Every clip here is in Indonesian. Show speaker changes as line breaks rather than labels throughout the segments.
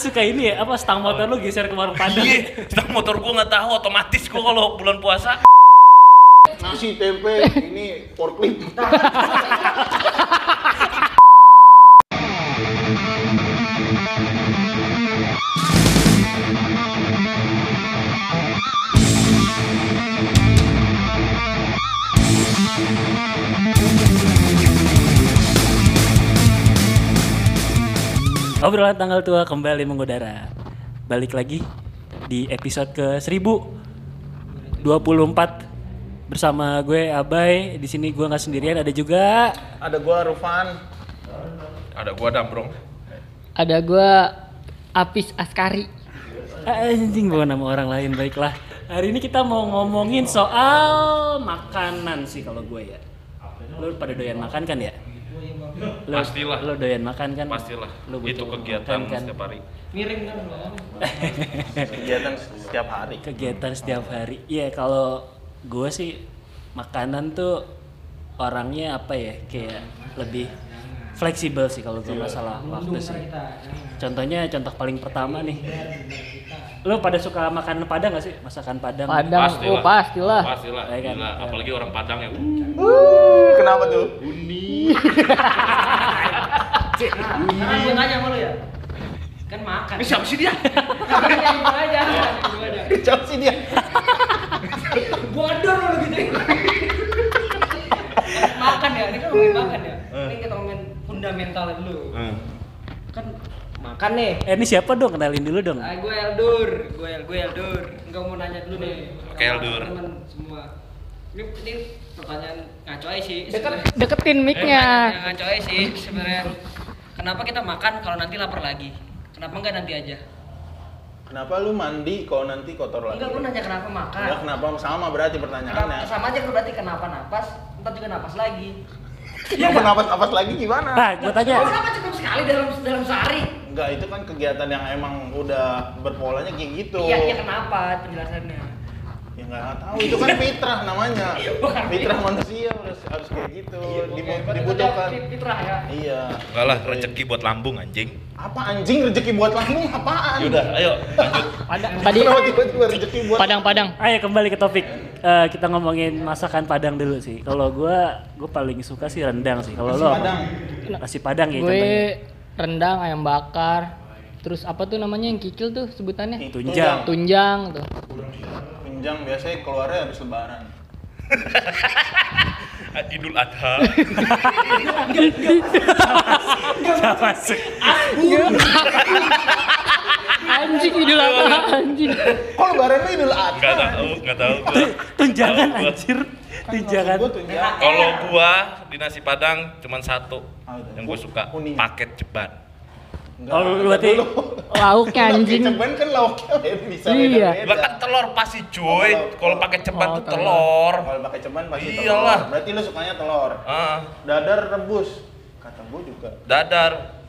suka ini ya apa stang motor lu geser ke warung padang
Iya, stang motor gua nggak tahu otomatis gua kalau bulan puasa.
Nasi tempe ini forklift.
obrolan tanggal tua kembali mengudara balik lagi di episode ke 1024 bersama gue Abai di sini gue nggak sendirian ada juga
Ada gua Rufan.
Ada gua dambrong.
Ada gua Apis Askari.
Ah, anjing bawa nama orang lain baiklah hari ini kita mau ngomongin soal makanan sih kalau gue ya lu pada doyan makan kan ya Lu-
Pastilah.
lu doyan makan kan
Pastilah.
Lu
Itu
butuh
kegiatan
makan kan?
setiap hari.
Kegiatan setiap hari.
kegiatan setiap hari iya kalau gue sih makanan tuh orangnya apa ya kayak lebih fleksibel sih kalau gue masalah waktu sih contohnya contoh paling pertama nih lo pada suka makanan padang gak sih masakan padang
Padang. oh, pastilah.
Pastilah.
Ya kan?
Gila,
Ya.
apalagi orang Padang ya. Uh,
Kenapa tuh?
Karena gue nanya sama lu ya. Kan makan.
ini Iya. Eh, siapa sih dia?
Yang gua aja.
Kecap sih dia.
Bodoh lu gitu. makan ya, ini kan ngomongin
Hmm.
makan ya. Ini kita ngomongin fundamental dulu. Kan makan nih.
eh ini siapa dong kenalin dulu dong
Ah, gue Eldur, gue El, gue Eldur. Enggak mau nanya dulu nih.
Oke, Eldur.
Teman semua. Ini, ini pertanyaan ngaco aja sih. sebenarnya.
Deketin
Eh,
Pertanyaan
mic-nya.
ngaco aja sih sebenarnya. Kenapa kita makan kalau nanti lapar lagi? Kenapa enggak nanti aja?
Kenapa lu mandi kalau nanti kotor lagi?
Enggak, gue nanya kenapa makan.
Enggak, kenapa sama berarti
Kenapa,
pertanyaannya.
sama aja kan berarti kenapa napas, entar juga napas lagi. Iya.
Kenapa napas-napas lagi gimana?
nah gue tanya
Oh, kenapa cukup sekali dalam dalam sehari?
Enggak, itu kan kegiatan yang emang udah berpolanya kayak gitu.
Iya, iya kenapa penjelasannya?
Ya enggak tahu, itu kan fitrah namanya.
Iya, bukan. Iya,
Fitrah manusia harus harus kayak gitu, Dibu-
Oke,
dibutuhkan.
fit- Fitrah ya.
Iya.
Enggak lah, rezeki buat lambung anjing.
Apa anjing rezeki buat lambung apaan?
Yaudah, ayo lanjut.
Padang. Tadi
Kenapa tiba-tiba rezeki buat
Padang-padang.
Ayo kembali ke topik. Eh, kita ngomongin masakan Padang dulu sih. Kalau gua gua paling suka sih rendang sih. Kalau
Nasi
lo apa?
Padang.
Nasi Padang ya
Gue rendang ayam bakar. Terus apa tuh namanya yang kikil tuh sebutannya?
Tunjang.
Tunjang tuh.
Tunjang biasanya keluarnya habis lebaran.
Idul Adha.
contohnya. Siapa sih?
Anjing idul apa? Anjing.
Kok lebaran lu Idul Adha?
Enggak tahu, enggak tahu gua.
Tun- Tunjangan
Tahu gua.
anjir.
Kan
Tunjangan.
maksud gua tunjang.
Kalau gua di nasi Padang cuman satu
Apa tuh?
yang gua suka,
Ah, Kuning.
paket jeban.
Enggak,
Oh, lu berarti
lu-
Lauknya anjing.
Cuman kan lauknya bisa
Iya.
Lah
beda-beda.
kan telur pasti cuy.
Oh,
Kalau pakai
oh,
jeban tuh
telur.
telur.
Kalau pakai ceban pasti
Iyalah.
telur. Berarti lu sukanya telur.
Ah,
Dadar rebus. Kata gua juga.
dadar,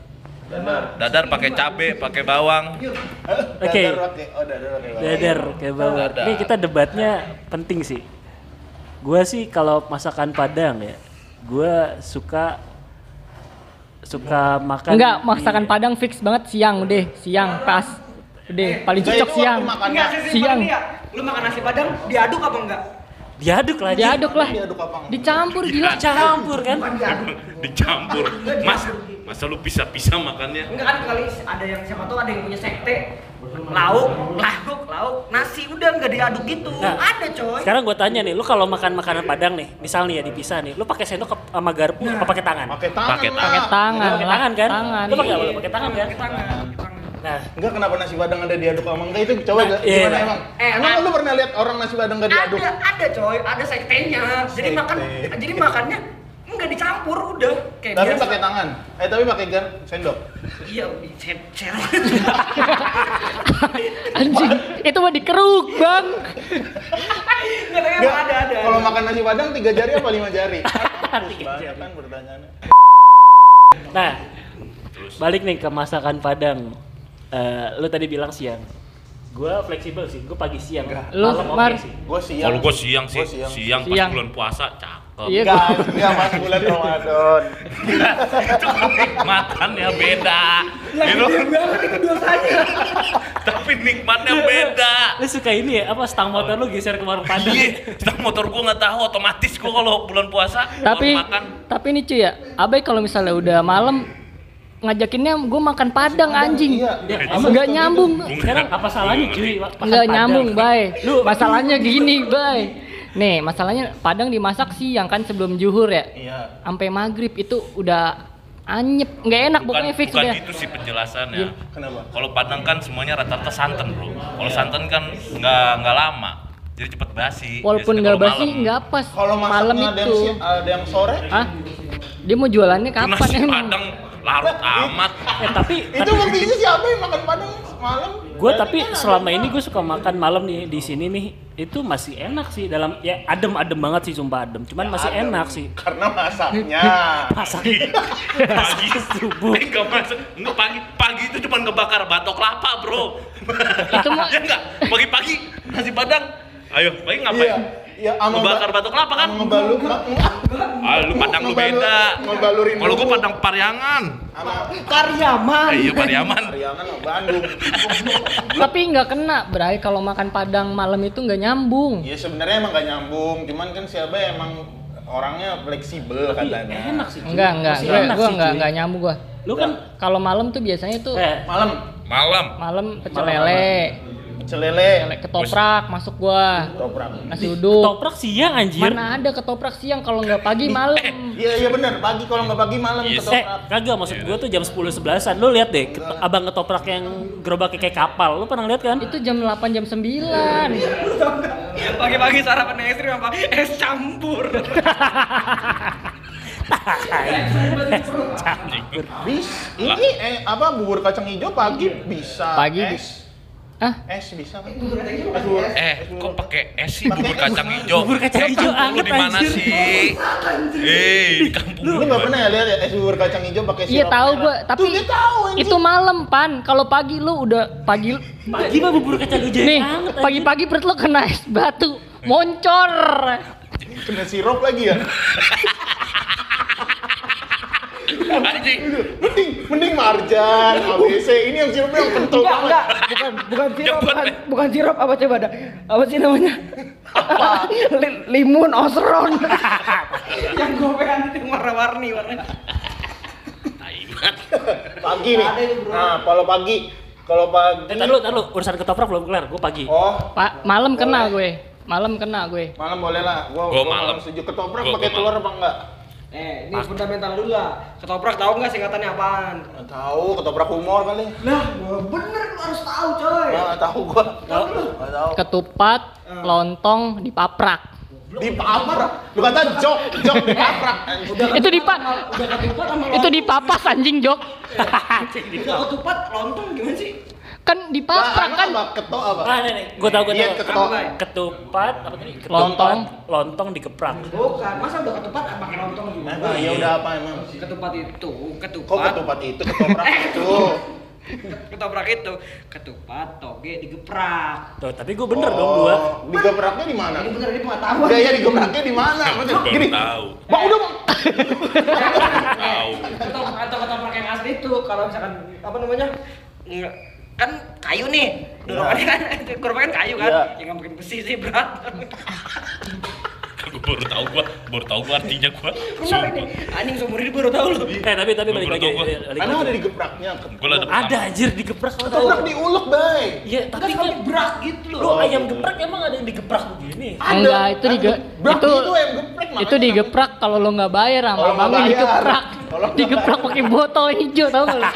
Dadar.
dadar pakai cabe, pakai bawang.
Dadar
Oke.
pakai- Oh, dadar pakai bawang.
Dadar ke bawah.
Dadar.
Ini kita debatnya penting sih. Gua sih kalau masakan Padang ya, gua suka suka makan
Enggak,
di-
masakan Padang fix banget siang deh, siang pas. Udah, paling
Nah,
cocok
itu waktu
siang.
Makannya
Siang.
Padang nih ya, Lu makan nasi Padang diaduk apa enggak?
diaduk lah anjing.
Diaduk lah.
diaduk apa?
Dicampur gila.
campur kan
dicampur mas masa lu bisa bisa makannya
Enggak kan kali ada yang siapa tahu ada yang punya sekte lauk, lauk, lauk, nasi udah enggak diaduk gitu.
Nah.
Ada coy.
Sekarang gue tanya nih, lu kalau makan makanan Padang nih, misal nih ya dipisah nih, lu pakai sendok apa- sama garpu apa pakai tangan?
Pakai tangan.
Pakai
lah.
Pakai tangan.
Pakai tangan kan?
Tangan.
Lu pakai apa? Pakai tangan kan?
Pakai tangan, pakai tangan.
Nah,
Enggak kenapa nasi Padang ada diaduk sama enggak itu coba enggak
iya.
gimana emang?
Nah, Eh,
emang
ada.
lu pernah lihat orang nasi Padang enggak diaduk?
Ada, ada coy, ada sektenya. Jadi
Sekte.
makan, jadi makannya enggak dicampur udah kayak
Tapi
biasa.
pakai tangan. Eh tapi pakai gar sendok.
Iya, dicecer.
Anjing, itu mah dikeruk, Bang.
Enggak tapi emang ada ada.
Kalau makan nasi Padang tiga jari apa lima jari? Mampus banyak kan pertanyaannya.
nah, balik nih ke masakan Padang. Eh, lu tadi bilang siang. Gue fleksibel sih, gue pagi siang.
Enggak.
Lu,
Malam oke
Mar.
sih.
Gue siang.
kalau gua siang sih
Gua siang.
siang, pas
Siang.
bulan puasa cakep cakep.
Iya.
Enggak, enggak mas bulan Ramadan.
Makannya ya beda.
Lagi
You know?
dia banget itu dosanya.
Tapi nikmatnya beda.
Lu suka ini ya, apa stang motor lu geser ke warung padang?
Iya, stang motor gua nggak tahu otomatis gua kalau bulan puasa
tapi
kalau makan
tapi ini cuy ya abai kalau misalnya udah malam ngajakinnya gue makan padang anjing
Iya, iya. Sama
nggak
suka
nyambung
gitu.
Sekarang apa salahnya cuy? makan
nggak
padang?
nyambung bay
Lu
masalahnya gini bay nih masalahnya padang dimasak siang kan sebelum juhur ya
Iya.
sampai maghrib itu udah anyep nggak enak
bukan,
pokoknya fix Iya.
bukan
udah
itu sih penjelasannya.
Kenapa?
Kalau Padang kan semuanya rata-rata santan, Bro. Kalau
Iya.
santan kan nggak nggak lama. Jadi cepet basi.
walaupun
Biasanya
nggak
kalau
basi
malam.
nggak pas
Kalau
malam
masaknya ada yang
itu
siang, ada yang sore,
ah dia mau jualannya
Itu
kapan
nasi
emang
Padang larut amat.
eh, tapi
itu buktinya siapa yang makan padang malam?
gue tapi selama ini gue suka makan malam nih di sini nih itu masih enak sih dalam ya adem adem banget sih sumpah adem cuman
Ya,
masih
Ada,
enak sih
Karena masaknya.
pasang
pagi
subuh.
Eh, nggak masuk. Nggak, pagi pagi itu cuma ngebakar batok kelapa bro
Itu mah-
ya enggak pagi-pagi nasi padang ayo pagi ngapain
Iya. Ya, ama
ngebakar
ba-
batok kelapa kan
ngebalu enggak.
ah lu padang lu
Ngebalur-
beda
ngebalurin
kalau gua
dulu.
padang pariangan
Ama- Ah.
Eh, iya pariaman
Pariangan sama Bandung.
tapi nggak kena bray kalau makan padang malam itu nggak nyambung
Ya sebenarnya emang gak nyambung, cuman kan siapa emang orangnya fleksibel katanya.
enak sih cuy.
enggak enggak
Masih
gue
enak
gue
sih,
enggak
cuy.
enggak nyambung gue
lu kan
kalau malam tuh biasanya tuh
eh,
Malam
malam
malam pecel
Malam-malam.
lele lele
celele
ketoprak masuk gua
toprak.
nasi uduk
toprak siang ya, anjir
mana ada ketoprak siang kalau nggak pagi malam
Iya iya benar, pagi kalau nggak pagi malam
Yes.
eh
ketoprak.
kagak maksud gue tuh jam 10 11-an lu lihat deh ket- abang ketoprak yang gerobaknya kayak kapal lu pernah lihat kan
itu jam 8 jam
Eh.
9
Pagi-pagi sarapan yang ekstrim apa? Es campur.
Anjing.
Bis, ini eh, apa bubur kacang hijau pagi bisa.
Pagi
es,
ah
es bisa kan? Es bubur-
eh kok pakai es sih bubur kacang hijau
Bubur kacang
Eh,
hijau
kampung lu
anget,
di mana
anjir.
sih eh di kampung
Lu nggak pernah ya lihat ya es bubur kacang hijau pakai sirup?
iya tahu
merah?
gua tapi
Tuh, dia tahu anjing.
itu malam pan kalau pagi lu udah pagi
pagi mah bubur kacang hijau
nih
anget, anjir.
pagi-pagi perut lu kena es batu moncor
kena sirup lagi ya.
anjing
mending mending marjan, ABC ini yang sirupnya yang kental
Enggak,
banget.
enggak. Bukan bukan
Yang
sirup,
buat-
bukan, bukan sirup apa coba ada? Apa sih namanya? Apa? Li- limun osron. yang gue pengen yang warna-warni warna.
Pagi nih. Nah, kalau pagi kalau
eh
pagi
tar lu tar lu urusan ketoprak belum kelar gue pagi
oh
pak malam kena gue malam kena gue
malam boleh lah. Gua,
Gua malam.
setuju ketoprak
Gua-
pakai
gua
telur apa enggak?
Eh, ini fundamental dulu lah. Ketoprak tahu nggak singkatannya apaan?
Nggak Tahu ketoprak humor kali.
Nah, bener lu harus tahu coy.
Nggak tahu gua. Nggak tahu.
ketupat lontong dipaprak
Di kamar. Lu kata jok, jok di kaprak.
itu dipa
Udah ketupat sama
itu dipapas anjing jok
Udah ketupat lontong gimana sih?
kan dipaprak kan
apa? Keto apa?
ah nih nih gue tau gue tau
Iya, ketok.
ketupat apa tadi Ketupat,
Lontong.
lontong dikeprak
Bukan, masa udah ketupat apa pakai lontong gimana?
Nah, ya udah apa emang?
Ketupat itu, ketupat.
Kok ketupat itu, ketoprak itu?
ketoprak itu ketupat toge digeprak
tuh tapi gue bener dong dua
Oh, Digepraknya di mana?
ini bener ini pengetahuan
Gaya digepraknya di mana? Maksudnya
Baru
gini.
tahu.
Bang udah bang.
tahu
ketoprak atau ketoprak yang asli itu kalau misalkan apa namanya nggak- kan kayu nih Dorokannya kan kerupuk kan kayu kan
Iya.
ya nggak mungkin besi sih berat
Gua baru tahu gua baru tahu gua artinya gua
Kenapa
sumpah
ini? anjing seumur hidup baru tahu lu
eh tapi tapi
Gua
balik
baru
lagi
tau
eh,
gua.
balik
Karena
lagi.
Oh. ada digepraknya.
gua lah dapet
ada anjir digeprak
Ketoprak diulek, bay.
Iya, tapi
tapi
kan
kan berat gitu
lu
loh
ayam geprek emang ada yang digeprak begini.
Ada.
Enggak, itu
Kan
dige-
gebrak
itu-
itu yang geprek, makanya
itu digeprak kalau lo nggak bayar sama
Kalau nggak
mama
bayar.
digeprak
Kalau nggak
digeprak pakai botol hijau tau nggak lo?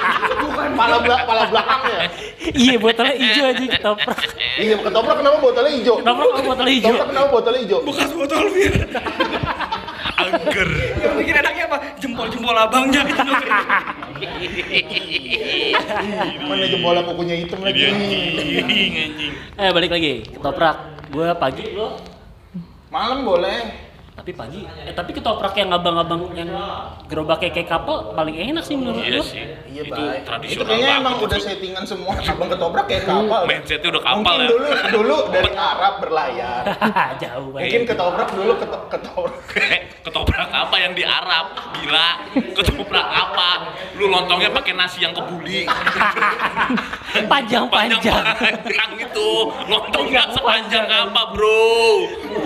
bukan pala belak pala belakangnya.
iya, botolnya hijau aja ketoprak.
Iya, ketoprak kenapa botolnya hijau?
Ketoprak sama botolnya hijau.
Ketoprak kenapa botolnya hijau?
bekas botol bir angker
yang bikin enaknya apa jempol jempol abangnya gitu
Iya. Mana jempolnya kukunya hitam lagi.
jadi anjing anjing
Eh, balik lagi ketoprak. Gua pagi lu
Malam boleh.
tapi pagi eh tapi ketoprak yang abang-abang yang gerobaknya kayak kapal paling enak sih menurut
Iya
lu
sih.
Iya,
itu
Bay.
tradisional
Itu kayaknya
banget
emang
itu.
udah settingan semua abang ketoprak kayak kapal.
Mindsetnya udah kapal
Mungkin
ya.
dulu dulu dari Arab berlayar.
jauh banget
Mungkin ketoprak dulu keto- ketoprak.
ketoprak apa yang di Arab? Gila. Ketoprak apa? Lu lontongnya pakai nasi yang kebuli.
Ah, panjang-panjang
Panjang itu. Lontong nggak sepanjang apa, Bro?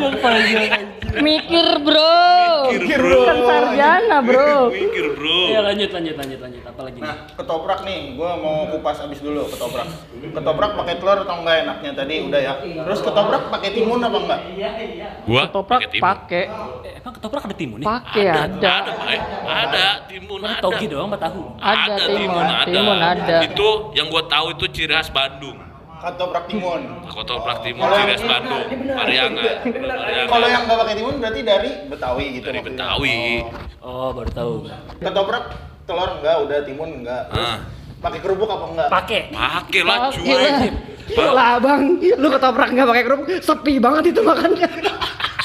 yang panjang
Mikir bro.
Mikir, Bro.
Kan sarjana bro.
Mikir, Bro.
Iya.
ya lanjut lanjut lanjut lanjut apa lagi nih
Nah, ketoprak nih, gua mau kupas abis dulu ketoprak. Ketoprak pakai telur atau enggak enaknya tadi udah ya. Terus ketoprak pakai timun apa enggak?
Gua
Ketoprak
pakai timun.
pakai,
Eh, emang ketoprak ada timun ya
pakai
Ada,
ada.
Bay. Ada timun
Mana
ada.
togi doang sama tahu gitu?
Ada timun, timun ada.
Itu yang gua tahu itu ciri khas Bandung.
Ketoprak timun.
Ketoprak timun
Kalau
ciri
yang-
khas Bandung. Pariangan. Pariangan.
Kalau yang enggak pakai timun berarti dari Betawi gitu.
dari
maksudnya.
Betawi.
oh baru tahu
Ketoprak telur enggak, udah timun enggak. Terus
Ah.
pakai kerupuk apa enggak?
pakai
Pakai lah
Pakai
cuy.
lah.
Ba-
lah bang, lu ketoprak nggak pakai kerupuk, sepi banget itu makannya.
udah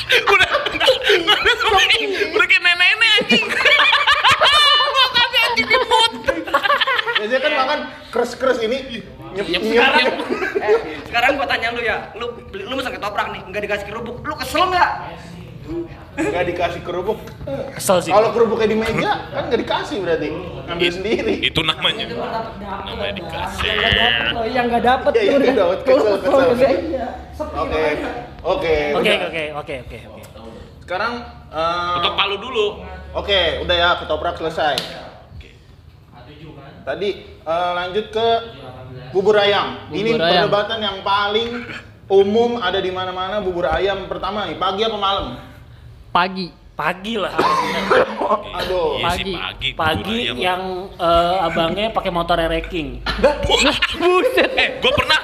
udah kayak nenek-nenek anjing makannya anjing di mood
Biasanya kan makan keres-keres ini nyep nyep.
sekarang, eh, sekarang gua tanya lu ya, lu beli- lu pesan ketoprak nih, nggak dikasih kerupuk, lu kesel nggak?
Enggak dikasih kerupuk.
kesel sih
Kalau kerupuknya di meja kan enggak dikasih berarti. Ngambil sendiri.
itu namanya namanya dikasih
Lo yang nggak dapet
Iya,
lu
iya,
dengan
dapet, kesel,
kerupuk,
kesel.
makanya.
Oke. Oke.
oke
udah.
oke oke oke oke
Sekarang eh,
untuk palu dulu
Oke, udah ya ketoprak selesai. Tadi eh, lanjut ke bubur ayam. Ini
Bubur ayam.
perdebatan yang paling umum ada di mana-mana bubur ayam pertama nih, pagi apa malam?
Pagi.
pagi lah
Aduh.
Iya sih,
Pagi.
pagi ya,
pagi
Iya,
gua ayam.
yang eh, abangnya pakai motor ereking
Buset.
eh gua pernah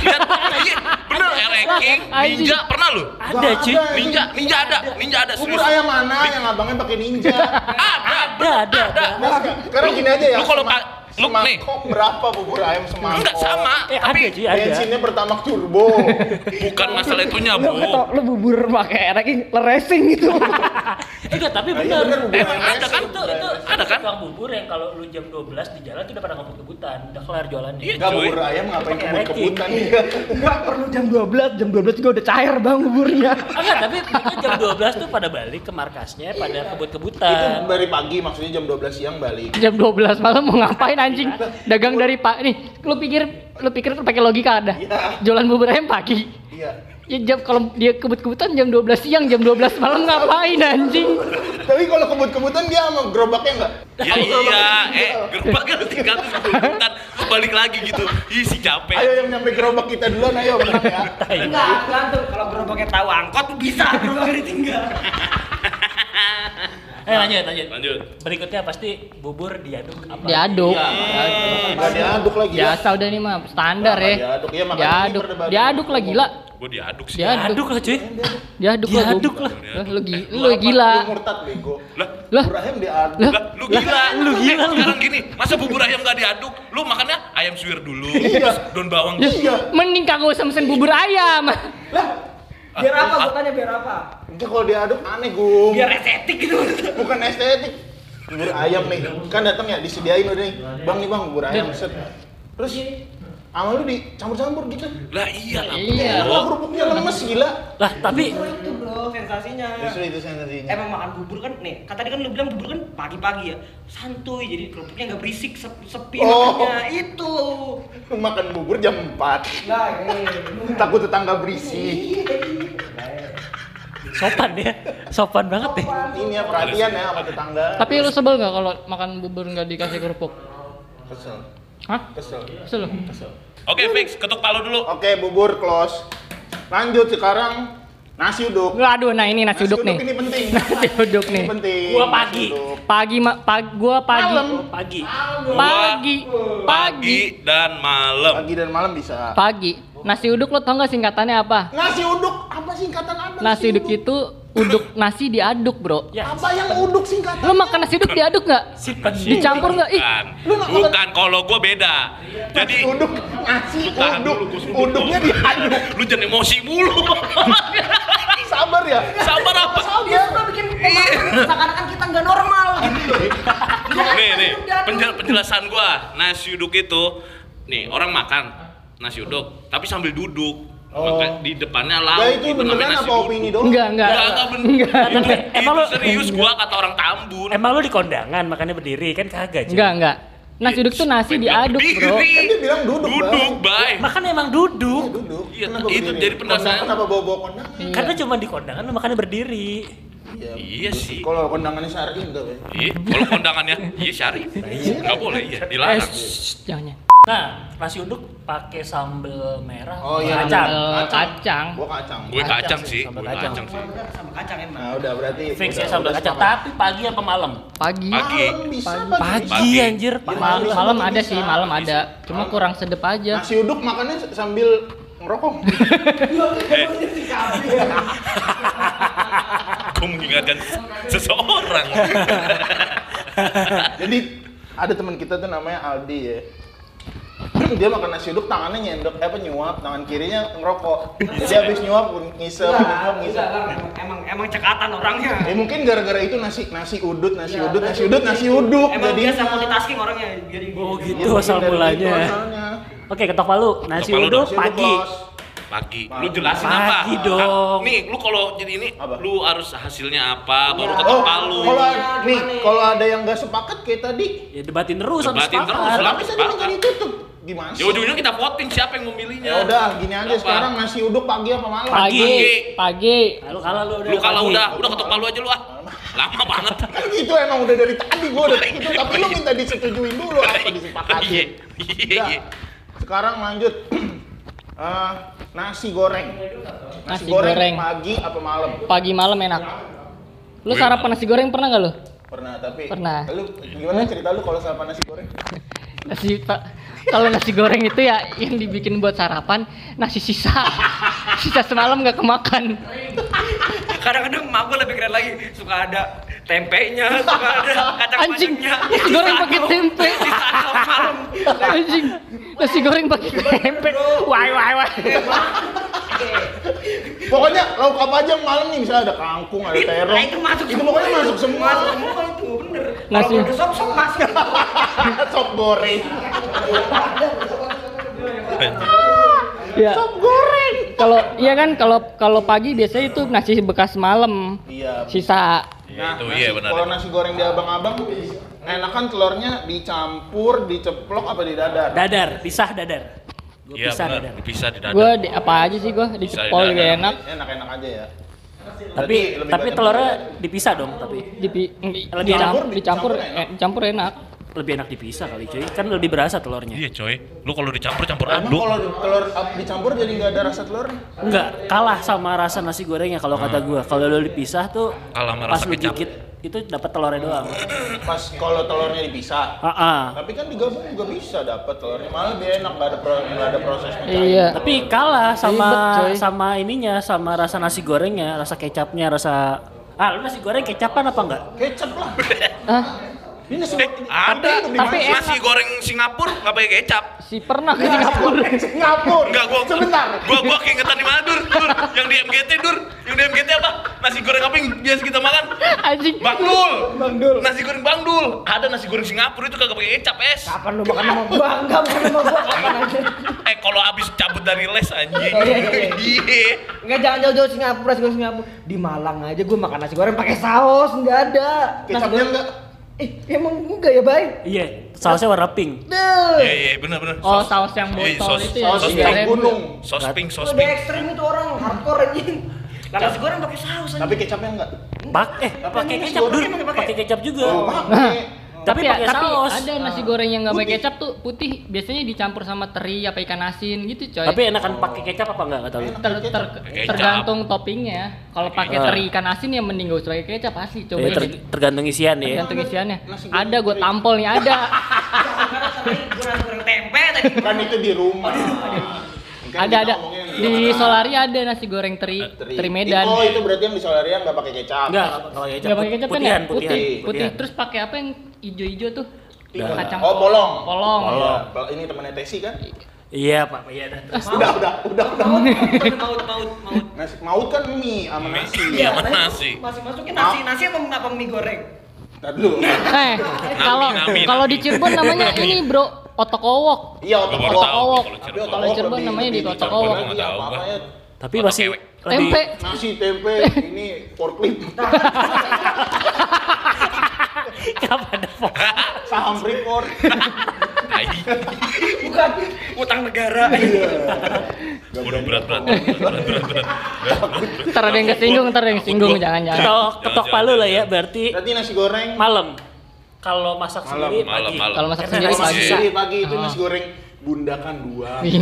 lihat iya bener ereking ninja pernah lu
ada
Gak
cuy
ada.
ninja ninja ada ninja ada
Bubur
serius
ayam mana yang abangnya pakai ninja?
ada
ada ada, ada.
Nah, sekarang gini aja ya.
lu kalau
sema-
pa- lu nih.
semangkok berapa bubur ayam semangkok?
enggak sama
eh ada
tapi
cuy ada
Bensinnya pertama turbo. Iya,
bukan masalah itunya
Lu ketok,
bu
lu bubur pakai erek leresing gitu.
Eh, enggak tapi
Nah, iya bener
bener
bubur
Emang
ayam.
ada kan?
itu itu
Ada kan?
Iya, tukang bubur yang kalau lu jam 12 di jalan tuh udah pada ngebut-ngebutan udah kelar jualannya
Iya.
Enggak
cuy.
bubur ayam ngapain
Pakai
kebut-kebutan dia.
Nggak perlu jam 12, jam 12 juga udah cair bang buburnya.
Ah, enggak tapi mereka jam 12 tuh pada balik ke markasnya pada
Itu
kebut-kebutan
dari pagi maksudnya jam 12 siang balik.
Jam 12 malam mau ngapain anjing? Dagang dari pak nih, lu pikir lu pikir pakai logika ada?
Iya.
Jualan bubur ayam pagi.
Iya.
Ya jam kalau dia kebut-kebutan jam 12 siang, jam 12 malam ngapain anjing?
Tapi kalau kebut-kebutan dia sama gerobaknya enggak?
Ya iya, eh gerobaknya harus diganti sebentar, terus balik lagi gitu. Ih
Ayo
si capek.
yang nyampe gerobak kita duluan ayo menang ya.
Enggak, gantung. Kalau gerobaknya tahu angkot bisa gerobaknya ditinggal.
eh lanjut lanjut
Lanjut.
berikutnya pasti bubur diaduk apa
Diaduk.
Iya.
Enggak diaduk lagi ya.
Biasa udah nih mah standar
Nah,
ya.
diaduk. Iya, makanya ini
Diaduk.
perdebatan.
Diaduk lah gila.
Gue diaduk sih.
diaduk
Diaduk.
lah cuy
Diaduk lah. gua.
Diaduk lah.
Lah, Lu gi- lu gila.
Lu murtad bego.
Lah,
Lah,
Ibrahim diaduk.
lah,
Lu
lu gila.
gila,
Eh,
lu.
sekarang gini, masa bubur ayam gak diaduk? Lu makannya ayam suwir dulu,
Iya.
daun bawang.
Iya.
mending kagak usah mesen bubur ayam.
Lah,
Biar apa? Gue tanya biar apa?
enggak kalau diaduk aneh, Gung.
Biar estetik gitu.
Bukan estetik. Bubur ayam nih. Kan datang ya disediain udah nih. Bang nih Bang bubur ayam set. Terus sama lu dicampur-campur gitu.
Lah iya lah.
Iya.
Wah, kerupuknya lemes gila.
lah tapi
Itu bro sensasinya.
Justru itu sensasinya.
Emang makan bubur kan nih, kata tadi kan lu bilang bubur kan pagi-pagi ya, santuy jadi kerupuknya nggak berisik, sep- sepi Iya.
Oh.
makanya itu.
Makan bubur jam 4.
Lah, eh,
Takut tetangga berisik.
sopan ya sopan banget ya
ini ya perhatian ya sama tetangga
Tapi lu sebel nggak kalau makan bubur nggak dikasih kerupuk?
kesel
Hah?
kesel
Kesel lu?
kesel
Oke, fix, ketuk palu dulu.
oke bubur close lanjut sekarang nasi uduk
Aduh, nah ini nasi uduk nih.
ini penting
Nasi uduk
ini
nih.
penting
Gua pagi.
Nasi uduk.
Pagi ma pag gua pagi.
Malam.
pagi
Pagi. Pagi.
Pagi dan malam.
pagi dan malam bisa
Pagi. Nasi uduk lo tau nggak singkatannya apa?
nasi uduk apa singkatan apa
Nasi uduk itu uduk nasi diaduk, Bro.
ya
apa yang uduk singkatan
Lu makan nasi uduk diaduk nggak?
si
Iya.
pedih
Dicampur nggak? Ih,
Bukan,
Lu nggak makan-
Kan. bukan kalau gue beda. Jadi
uduk nasi
Tahan
uduk
dulu, gua sebelum-
uduknya diaduk
Lu jangan emosi mulu.
sabar ya.
Sabar apa?
dia suka bikin pemahaman seakan-akan Iya. kita nggak normal gitu.
nih nih penjel- penjelasan gua nasi uduk itu nih orang makan nasi uduk tapi sambil duduk
Oh.
Maka di depannya lauk
Ya itu beneran apa opini doang?
Enggak, enggak.
Enggak, enggak bener. Itu,
Emang
itu
lu-
serius gua kata orang Tambun.
Emang lu di kondangan makanya berdiri kan kagak Jeng.
Enggak, enggak. Nasi uduk tuh nasi diaduk, Bro. Iya.
Kan dia bilang duduk,
Duduk, bay.
Makan emang duduk.
Duduk.
Iya,
Kenapa
itu
berdiri?
jadi pendasaran.
Kondangan Kenapa bawa-bawa kondangan?
Iya.
Karena cuma di kondangan lu makannya berdiri.
Iya sih.
Kalau kondangannya syar'i enggak, Bay.
Iya, kalau kondangannya iya syari. Enggak boleh iya,
Eh,
dilarang.
shh, jangan.
Nah, nasi uduk pakai sambel merah
Oh iya,
sama kacang.
sambel- Eh, kacang.
Gua kacang.
Gue kacang
Kacang sih,
sih,
sambal
gue
kacang.
kacang sih.
sama kacang emang.
Nah, udah berarti
Fix ya
udah-
sambel
udah
kacang.
sepakat.
Tapi pagi apa malam?
Pagi.
Pagi.
Malam bisa, Iya. pagi.
Pagi anjir,
Pagi.
malam.
Bisa,
Malam ada
bisa.
sih, malam ada. Cuma kurang sedep aja.
Nasi uduk makannya sambil ngerokok. Iya,
Eh. Gue mengingatkan seseorang.
Jadi ada teman kita tuh namanya Aldi ya. Dia makan nasi uduk tangannya nyendok eh, apa nyuap, tangan kirinya ngerokok. Jadi habis nyuap ngisep, habis nyuap ngisep.
Emang emang cekatan orangnya.
Eh mungkin gara-gara itu nasi nasi udut, nasi udut, nasi udut, nasi uduk.
Iya, Emang
Jadi
biasa multitasking orangnya. Jadi
Oh
Iya,
gitu
mungkin
asal
dari itu
mulanya.
asalnya.
Oke, ketok palu. Nasi
Ketok palu
uduk
Nasi uduk,
pagi.
Iya, Bos.
Pagi. Lu jelasin apa?
Pagi dong.
Ah, Nih, lu kalau jadi ini
Apa? Oh,
lu harus hasilnya apa baru
Iya.
ketok palu.
Kalau
Iya,
nih,
gimana?
kalau ada yang nggak sepakat kayak tadi,
Ya debatin terus sampai
Debatin terus,
sepakat.
lah.
tapi tadi
sepakat.
nggak ditutup. Gimana?
Ya
sih?
ujung-ujungnya kita voting siapa yang memilihnya.
Ya udah, gini aja
Apa?
sekarang nasi uduk pagi apa malam?
Pagi, pagi.
Nah, lu kalah lu udah.
Lu kalau
pagi.
udah, udah ketok palu aja lu ah. Lama banget.
Kan gitu emang udah dari tadi gua udah gitu, tapi lu minta disetujuin dulu apa
Iya,
disepakatin.
iya,
Udah.
iya.
Sekarang lanjut. Eh, nasi goreng.
Nasi goreng.
pagi apa malam?
Pagi malam enak. Lu
Gue-
sarapan nasi goreng pernah nggak lu?
Pernah, tapi
Pernah.
Lu gimana cerita lu kalau sarapan nasi goreng?
Nasi Pak. Kalau nasi goreng itu ya yang dibikin buat sarapan nasi sisa. Sisa semalam nggak kemakan.
kadang-kadang emak gue lebih keren lagi suka ada tempenya suka ada kacang
Anjing, nasi goreng pakai tempe.
malam
Anjing, nasi goreng pakai tempe. Wah, wah, wah.
Pokoknya lauk apa aja malam nih misalnya ada kangkung, ada terong.
nah, itu masuk
Itu pokoknya masuk semua.
masuk semua itu bener kalau
Nasi-
udah sop sop masuk
Sop goreng.
Iya.
Ya.
Sop goreng.
Kalau iya kan kalau kalau pagi biasanya itu nasi bekas malam.
Iya.
Sisa.
Iya, itu
nasi-
iya benar.
Nah, Kalau nasi goreng di abang-abang, enakan telurnya dicampur, diceplok apa didadar?
Dadar, pisah dadar. Gua
Iya,
pisah
benar.
dadar.
Bisa di dada.
Gue apa aja sih gue dicepol
Bisa,
gak enak.
Enak-enak aja ya.
Tapi
Berarti lebih
tapi
banyak
telurnya
didadar.
dipisah dong, tapi
Dipi,
Lebih enak.
dicampur, dicampur, eh, dicampur enak.
lebih enak dipisah kali cuy. Kan lebih berasa telurnya.
Iya, coy. Lu kalau dicampur campur
Emang
aduk.
kalau telur ap- dicampur jadi nggak ada rasa telur?
Enggak, kalah sama rasa nasi gorengnya kalau kata gua. Kalau lu dipisah tuh
Hmm. Kalah sama
pas
rasa
lu
kecap.
gigit itu dapat telurnya doang.
Pas kalau telurnya dipisah.
Ah, ah.
Tapi kan digabung juga bisa dapat telurnya. Malah lebih enak nggak ada pro- nggak ada proses mencari.
Iya.
Tapi kalah sama
Ribet, coy.
sama ininya, sama rasa nasi gorengnya, rasa kecapnya, rasa Ah, lu nasi goreng kecapan apa enggak?
Kecap lah.
Ah,
Ini nasi
Eh, ada.
Tapi
Tapi
enak.
Nasi goreng Singapura nggak pakai kecap.
si pernah ke Singapura.
Singapura.
Enggak gua
Sebentar.
Gua gua keingetan di mana Dur? Dur, yang di MGT Dur. Yang di MGT apa? Nasi goreng apa yang biasa kita makan?
Anjing.
Bang Dul.
Bang Dul.
Nasi goreng Bang Dul. Ada nasi goreng Singapura itu kagak pakai kecap, es.
kapan lu makan sama bangga makan sama gua kapan aja
Eh, kalau habis cabut dari les anjing.
Oh, iya, iya,
Iya.
nggak jangan jauh-jauh Singapura nasi goreng Singapura di Malang aja gue makan nasi goreng pakai saus nggak ada Nasi
Kecapnya
goreng-
nggak?
Ih, emang enggak ya baik
Iya, sausnya warna pink.
deh
Iya, iya, benar benar.
Oh, saus yang
Iya,
botol
saus-
itu ya.
Saus
saus
Iya.
ikan gunung.
Sos pink, sos
udah
pink.
ekstrim itu orang hardcore anjing Lah, nasi goreng pakai saus
Tapi kecapnya enggak.
Pak eh
Apa
pakai
ini nasi
kecap
goreng
dulu,
emang dipakai?
pakai kecap juga.
Oh, pakai.
Tapi
ya-
pakai saus.
ada nasi goreng yang nggak pakai kecap tuh putih biasanya dicampur sama teri apa ikan asin gitu coy
Tapi enakan pakai kecap apa enggak kata lu?
Ter- ter-
Pakai
tergantung toppingnya kalau pakai
Ah.
teri ikan asin ya mending gak usah pakai kecap asli
Ya,
coba
ter- tergantung isian ya.
tergantung isiannya
Nasi goreng
ada gue
teri.
tampol nih ada
gue nasi goreng tempe tadi
Kan itu di rumah. Kan
ada
kita
ada
ngomongin
di
rumah.
Solaria ada nasi goreng
Eh,
teri
Teri.
teri Medan
Oh, itu berarti yang di Solaria nggak pakai kecap.
Enggak, kalau kecap.
nggak pakai kecap kan ya
putihan,
putih
putihan,
putih,
putihan.
terus pakai apa yang ijo-ijo tuh
Iya.
kacang
Oh, polong.
polong
Iya, Ini temannya Tesi kan?
Iya, Pak. Iya, dah.
Ah, Eh.
terus.
Udah, udah, udah, udah.
maut maut maut
Nasi maut kan mie sama nasi.
Iya, sama
Nasi-
nasi.
masih masukin nasi nasi apa apa mie goreng
Ntar dulu.
Eh, kalau
nami,
kalau
nami.
di Cirebon namanya ini, Bro, otok owok.
Iya,
Gua
otak
baru
owok.
tahu
Owok.
kalau
Tapi
Cirebon.
otak
Kalau
owok
Cirebon
lebih-
namanya
lebih-
di otak
lebih-
owok.
lebih-
Gua nggak tahu,
apa-apa
gua.
ya.
Tapi
Otak
masih
ewek.
lebih
Tempe.
Nasi tempe ini forklift
kapan ada fok?
saham Freeport.
Tai.
bukan utang negara
Gak
Waduh,
berani.
berat berat berat berat berat. berat, berat.
Ntar ada yang kesinggung, ntar ada yang kesinggung,
Takut gua.
jangan-jangan.
Ketok, ketok
Jangan,
palu lah
jangan.
ya, berarti
Berarti nasi goreng
malam. Kalau masak
Malam,
sendiri
malam,
pagi.
malam.
Kalau masak
Karena
sendiri
nasi
pagi.
sendiri pagi itu
Ah.
nasi goreng bundakan dua.
Wih,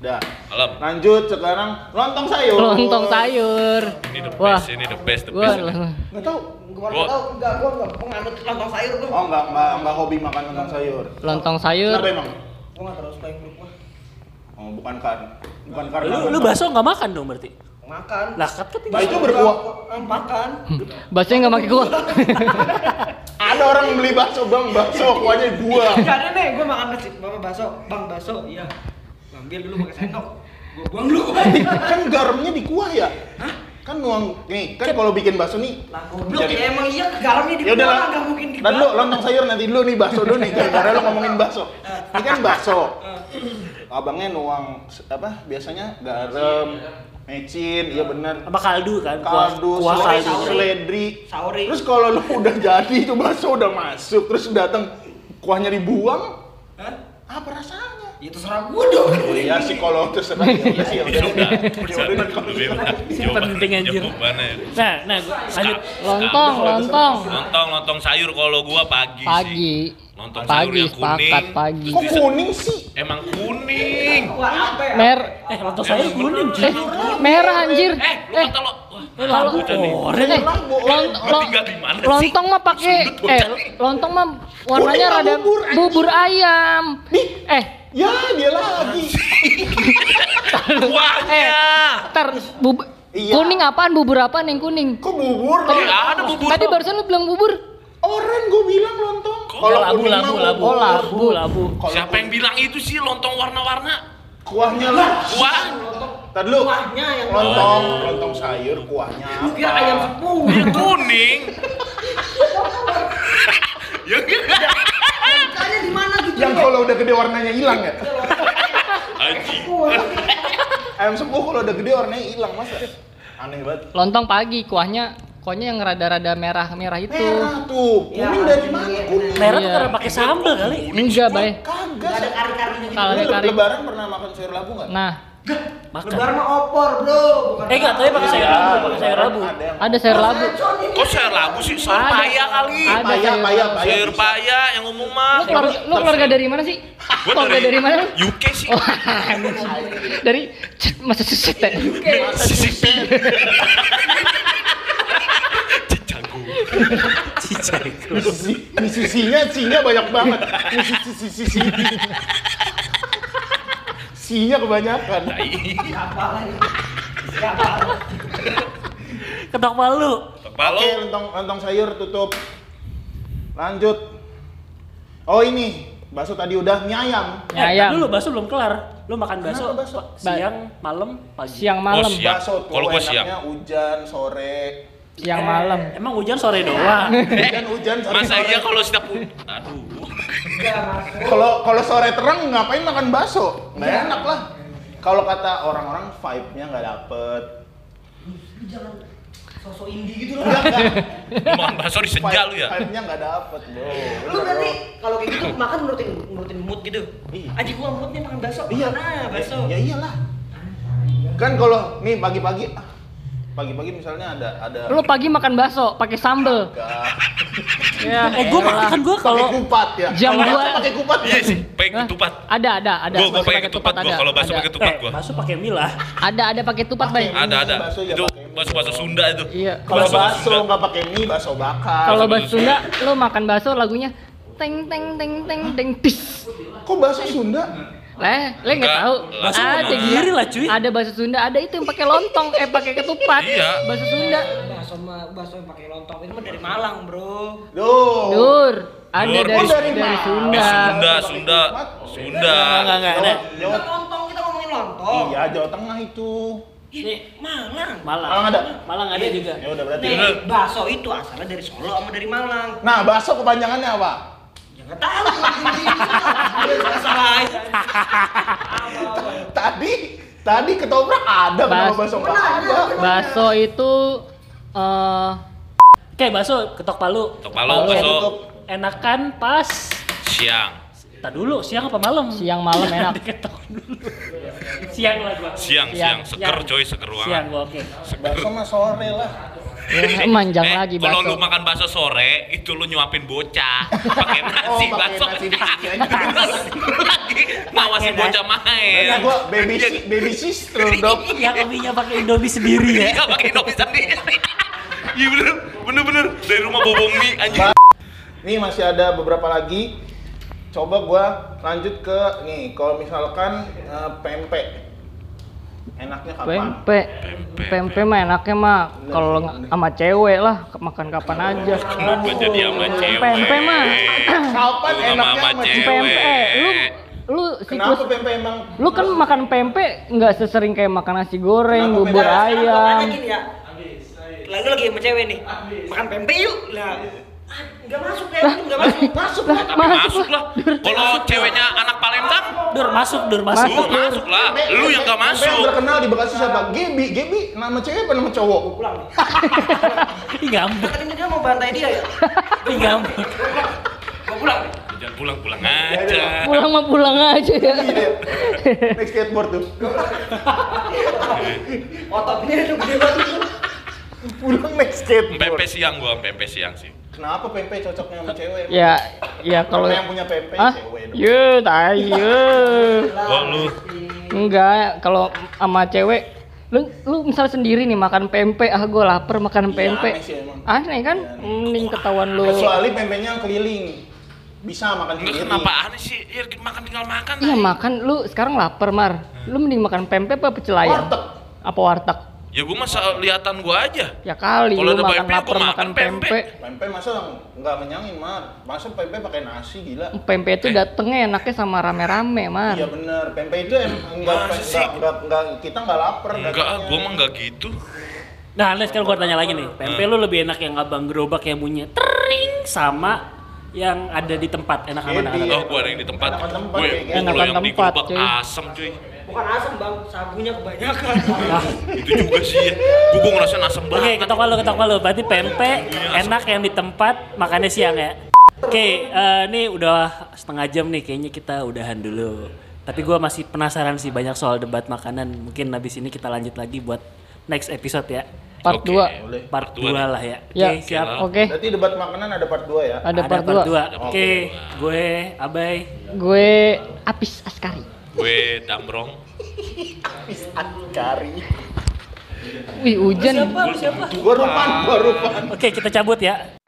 Dah.
Malam.
Lanjut sekarang lontong sayur.
Lontong sayur.
Ini the
Wah,
best, ini the best, the
gua
best.
Nggak tahu.
gua nggak tahu enggak gua enggak penganut lontong sayur gua
Oh nggak nggak nggak hobi makan lontong sayur.
lontong
Kenapa
sayur.
emang?
gua nggak terlalu suka yang grup gua
Oh bukan kan, bukan karena.
Lu lu
lontong.
bakso nggak makan dong berarti?
makan
Lah kan kan
Nah,
tinggal
itu berkuah.
Eh, makan
Bahasanya nggak pakai gua.
Ada orang beli bakso bang, bakso kuahnya dua.
Gak Iya, ada nih, gue makan nasi bapak bakso, bang bakso, iya. Ngambil dulu pakai sendok. Gue buang dulu.
kan garamnya di kuah ya? Hah? Kan nuang nih, kan kalau bikin bakso nih.
Lah goblok
Jadi-
ya emang iya garamnya di
Ya udah lah.
enggak mungkin di.
Dan lu lontong sayur nanti dulu nih bakso dulu nih gara-gara lu ngomongin bakso. Ini kan bakso. Abangnya nuang se- apa biasanya garam, mecin, iya bener
sama kaldu kan? Kuah
kaldu,
kuah
sele-
kaldu.
saus.
seledri.
Sauri.
Terus kalau lu udah jadi itu bakso udah masuk, terus datang kuahnya dibuang,
Hah?
apa rasanya?
Ya terserah gue dong.
Iya sih kalau terserah ya sih ya
Ya
udah.
udah,
Ya udah kalau
lebih enak. Jawaban-
penting, anjir.
jawabannya.
Nah, nah gua lanjut.
Lontong, lontong.
Lontong, lontong sayur kalau gua pagi,
Oh. Pagi.
sih. Lontong sayur
Pagi
yang kuning.
sepakat pagi.
Kok kuning sih?
Emang kuning.
Wah, apa ya?
Mer
Eh, lontong saya kuning,
eh
cuy.
merah anjir.
Eh, lu
Eh,
kata lo. Wah,
Kalau
bocah nih.
oren
Iya.
eh, lon-
Gua
lon-
tinggal di mana sih?
lontong mah pakai
Sudut bocah
eh
nih.
lontong mah warnanya
Kuning mah
rada
bubur, anjing.
bubur ayam.
Nih.
Eh,
Ya dia lagi.
Kuahnya.
ntar bub-
Iya.
kuning apaan bubur apaan yang kuning?
Kok bubur?
Tadi ada bubur.
Tadi barusan lu bilang bubur.
Orang gue bilang lontong.
Kok
Kalau
labu,
kuning mah
labu,
bubur.
labu.
Oh,
Labu, labu.
Kalau
Siapa yang bilang itu sih lontong warna-warna?
kuahnya lah.
Kuah.
Tadi lu
Kuahnya yang
lontong, lontong sayur, kuahnya.
Lu
apa?
kira ayam sepuluh.
Dia kuning. Ya enggak.
Kayaknya di mana gitu?
Yang kalau udah gede warnanya hilang ya.
Anjing.
Ayam sepuh kalau udah gede warnanya hilang masa? Aneh banget.
Lontong pagi kuahnya kuahnya yang rada-rada merah-merah itu.
Merah tuh.
Ya,
Kuning dari mana
iya,
kuning?
merah tuh
Iya.
karena pakai sambal kali.
Enggak,
Kagak.
Bay.
Gak ada kari-karinya gitu.
Kalau-
Lu
Kari-kari.
lebaran pernah makan sayur labu nggak?
Nah,
Makan.
Lebar mah opor, Bro. Bukan
Eh, enggak, tapi pakai sayur
Ya,
labu, pakai sayur
lebaran
labu.
Ada yang
ada sayur labu.
Kacauan ini.
Kok sayur labu sih? Sayur
Ada.
paya kali.
Ada
payah, payah,
sayur labu.
payah.
Sayur paya yang umum
Lu
mah.
keluarga, lu keluarga dari mana sih?
Ah, Gua Iya.
Keluarga dari mana? lu?
UK sih.
Oh, dari cet, masa ya? susit tadi.
CCP. Cicago.
Cicago.
Misi- Misisinya sinya banyak banget. Misisi sisi sisi. Sinya kebanyakan.
Nah, iya.
Siapa lah ini? Siapa?
Ketok palu.
Palo.
Oke, lontong lontong sayur tutup. Lanjut. Oh ini, bakso tadi udah mie ayam.
Eh,
Ayam.
dulu bakso belum kelar. Lu makan bakso,
Kenapa bakso?
pa- siang, malam, pagi.
Siang malam,
siang. Oh, Siap.
Bakso tuh
Iya. Kalau gua
enaknya hujan sore.
siang malam.
Emang hujan sore doang.
Hujan hujan sore.
Eh, Masa
sore.
iya kalau setiap aduh.
Enggak, Mas.
Kalau kalau sore terang ngapain makan bakso? Nggak
Iya.
enak lah. Kalau kata orang-orang vibe-nya nggak dapet.
Lu jangan sosok indie gitu loh.
Enggak, enggak.
Lu makan bakso di senja lu ya.
Vibe-nya nggak dapet, bro.
lu berarti kalau kayak gitu makan nurutin nurutin mood gitu
oh. Iya.
aji gua mood nih makan bakso
Iya.
nah bakso
Ya, ya iyalah. Kan kalau nih pagi-pagi ah, pagi-pagi misalnya ada ada
Lu pagi makan bakso pakai sambel.
Enggak.
Ya.
Eh, gua makan gua
pakai
kalau
kupat ya.
Jam
Kalau
dua-
bakso pakai kupat
Iya
ya.
sih, pengen
Hah?
ketupat.
Ada, ada, ada.
Gua gua
Bakso
pengen
pakai
ketupat
ada,
gua kalau bakso
ada.
pakai ketupat
eh,
gua.
bakso pakai mie lah.
Ada, ada pakai ketupat, Bay.
Pakai.
Ada ada.
Bakso ya
Itu
pakai mie.
bakso bakso Sunda itu.
Iya.
Kalau bakso
Sunda.
nggak pakai mie, bakso bakar.
Kalau
Bakso
bakso Sunda, lu makan bakso lagunya teng teng teng teng teng tis.
Kok bakso Sunda?
Leh, leh nggak
Enggak,
tahu.
bakso
ada
Sunda.
gila.
Sendiri lah, cuy.
Ada bakso Sunda, ada itu yang pakai lontong, eh pakai ketupat.
Iya.
Bakso Sunda.
bakso mah bakso yang pakai lontong itu mah dari Malang bro
Duh.
Dur. Ada
Telur
dari,
di
dari,
Sunda.
Di
Sunda.
Sunda, Sunda, Sunda.
Enggak, enggak, enggak. Nah,
Kita
Jawa,
lontong, kita ngomongin lontong.
iya Jawa Tengah itu.
ini
Malang.
Malang.
Malang ada?
Malang ada juga.
Ya udah berarti.
Bener.
Nih, bakso itu asalnya dari Solo sama dari Malang.
Nah, bakso kepanjangannya apa?
Ya nggak tahu. Dia salah aja.
Tadi tadi ketoprak ada kenapa
Bas-
bakso enggak ada?
Baso itu eh
Kayak bakso ketok palu.
Ketok palu, bakso
tutup.
Enakan pas
siang.
Tak dulu, siang apa malam?
Siang malam enak.
Diketok dulu. siang lah gua.
Siang, siang.
Siang,
Seger
siang.
coy, seger
Siang
banget.
gua oke.
Seger.
Bakso mah sore lah.
ya, manjang
Eh,
lagi
Kalau lu
baso.
makan bakso sore, itu lu nyuapin bocah pakai nasi
pakai
bakso.
nasi basi aja.
Terus lu lagi
Pakai
ngawasin bocah main. Iya.
Karena Iya, gua baby si- baby sister, Dok.
Yang Iya, kopinya pakai Indomie sendiri ya.
Iya, pakai Indomie sendiri. Iya bener, bener bener dari rumah bobong mie anjing.
Nih masih ada beberapa lagi. Coba gua lanjut ke nih, kalau misalkan eh, pempek. Enaknya kapan?
Pempek.
Pempek.
Pempek mah enaknya mah kalau nggak sama cewek lah makan kapan aja.
Kenapa jadi sama cewek?
Pempek mah.
Kapan
Lu sama
enaknya
sama
sama
cewek?
Pempek eh, lu lu
Kenapa
siklus
pempek emang?
lu kan makan pempek nggak sesering kayak makan nasi
Kenapa
goreng, bubur
pempek?
Pokoknya
ayam.
gini ya. Lalu lagi sama cewek nih. Makan pempek yuk. Lah. ah, Nggak masuk deh, nggak masuk. Masuk.
Lah,
Tapi
masuk
masuk
lah.
lah. Kalau ceweknya anak Palembang,
Dur masuk, dur
lu
masuk.
Masuk.
masuk lah.
Pempek-
Lu yang gak
pempek Yang
masuk.
terkenal di Bekasi siapa? Gebi, Gebi nama cewek apa nama cowok?
Pulang.
Ih ngambek,
Tadi dia mau bantai dia ya.
ih ngambek.
Mau pulang.
Jangan pulang pulang aja.
Pulang mah pulang aja ya.
Iya. Naik skateboard tuh.
Ototnya itu gede banget.
Pulang naik skateboard.
Pempek siang gua, pempek siang sih.
Kenapa pempek cocoknya sama cewek? emang?
ya, ya
Kalau
kalau
yang punya pempek
ah,
cewek dong.
yuk, tai, yuk.
Kok lu
Enggak, kalau sama cewek lu lu misal sendiri nih makan pempek ah gue
Iya,
lapar makan pempek
aneh sih emang.
aneh kan mending ketahuan
ya.
lu
Iya. Kecuali pempeknya keliling. Bisa makan
Enggak
sendiri.
kenapa aneh sih? Ya makan tinggal makan.
iya
lah.
makan lu sekarang lapar mar lu mending makan pempek apa pecel ayam
Warteg.
apa warteg
Ya gua masa lihatan gua aja.
ya kali
Kalau
lu
ada
makan
pempek, aku
lapar
makan
makan
pempek.
pempek
Pempek masa nggak kenyangin, Mar. Masa pempek pakai nasi gila.
Eh.
pempek itu datengnya enaknya sama rame-rame mar
Iya bener, pempek itu em- enggak,
Masa
enggak,
sih?
enggak, enggak, kita enggak lapar
Enggak, ah, gua mah enggak gitu.
Nah, Alex sekarang gua tanya lagi nih.
Hmm.
Pempek lu lebih enak yang abang gerobak yang bunyinya tering sama yang ada di tempat enak mana
Jadi.
mana
Oh, gua ada yang di tempat.
Enakan tempat
Gue
kayak gitu.
kalau yang
Enakan
di
tempat,
gerobak
cuy.
asem cuy.
Bukan asam bang, sagunya kebanyakan.
Nah,
Itu juga sih ya. Gua gua ngerasain asem
Oke,
banget.
ketok palu, ketok palu. Berarti pempek enak yang di tempat makannya siang ya. Oke, eh, ini udah setengah jam nih kayaknya kita udahan dulu. Tapi gua masih penasaran sih banyak soal debat makanan. Mungkin habis ini kita lanjut lagi buat next episode ya.
part
Oke.
2
Boleh.
Part
Part
2
dua
lah ya. Oke,
ya
siap.
oke
Berarti debat makanan ada part 2 ya?
ada part 2
dua. Oke, gue Abai.
gue apis askari
Gue damrong.
Cari.
wih hujan
Siapa? Siapa?
Gua rupan, gua rupan.
Oke, kita cabut ya.